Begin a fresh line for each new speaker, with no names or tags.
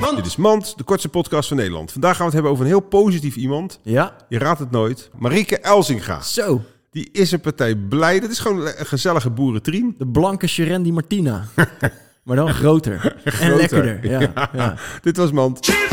Want-
Dit is Mand, de kortste podcast van Nederland. Vandaag gaan we het hebben over een heel positief iemand.
Ja.
Je raadt het nooit. Marieke Elzinga.
Zo,
Die is een partij blij. Dat is gewoon een gezellige boerentrien.
de blanke Sherendi Martina. maar dan groter. En lekkerder. Ja, ja.
Dit was Mand.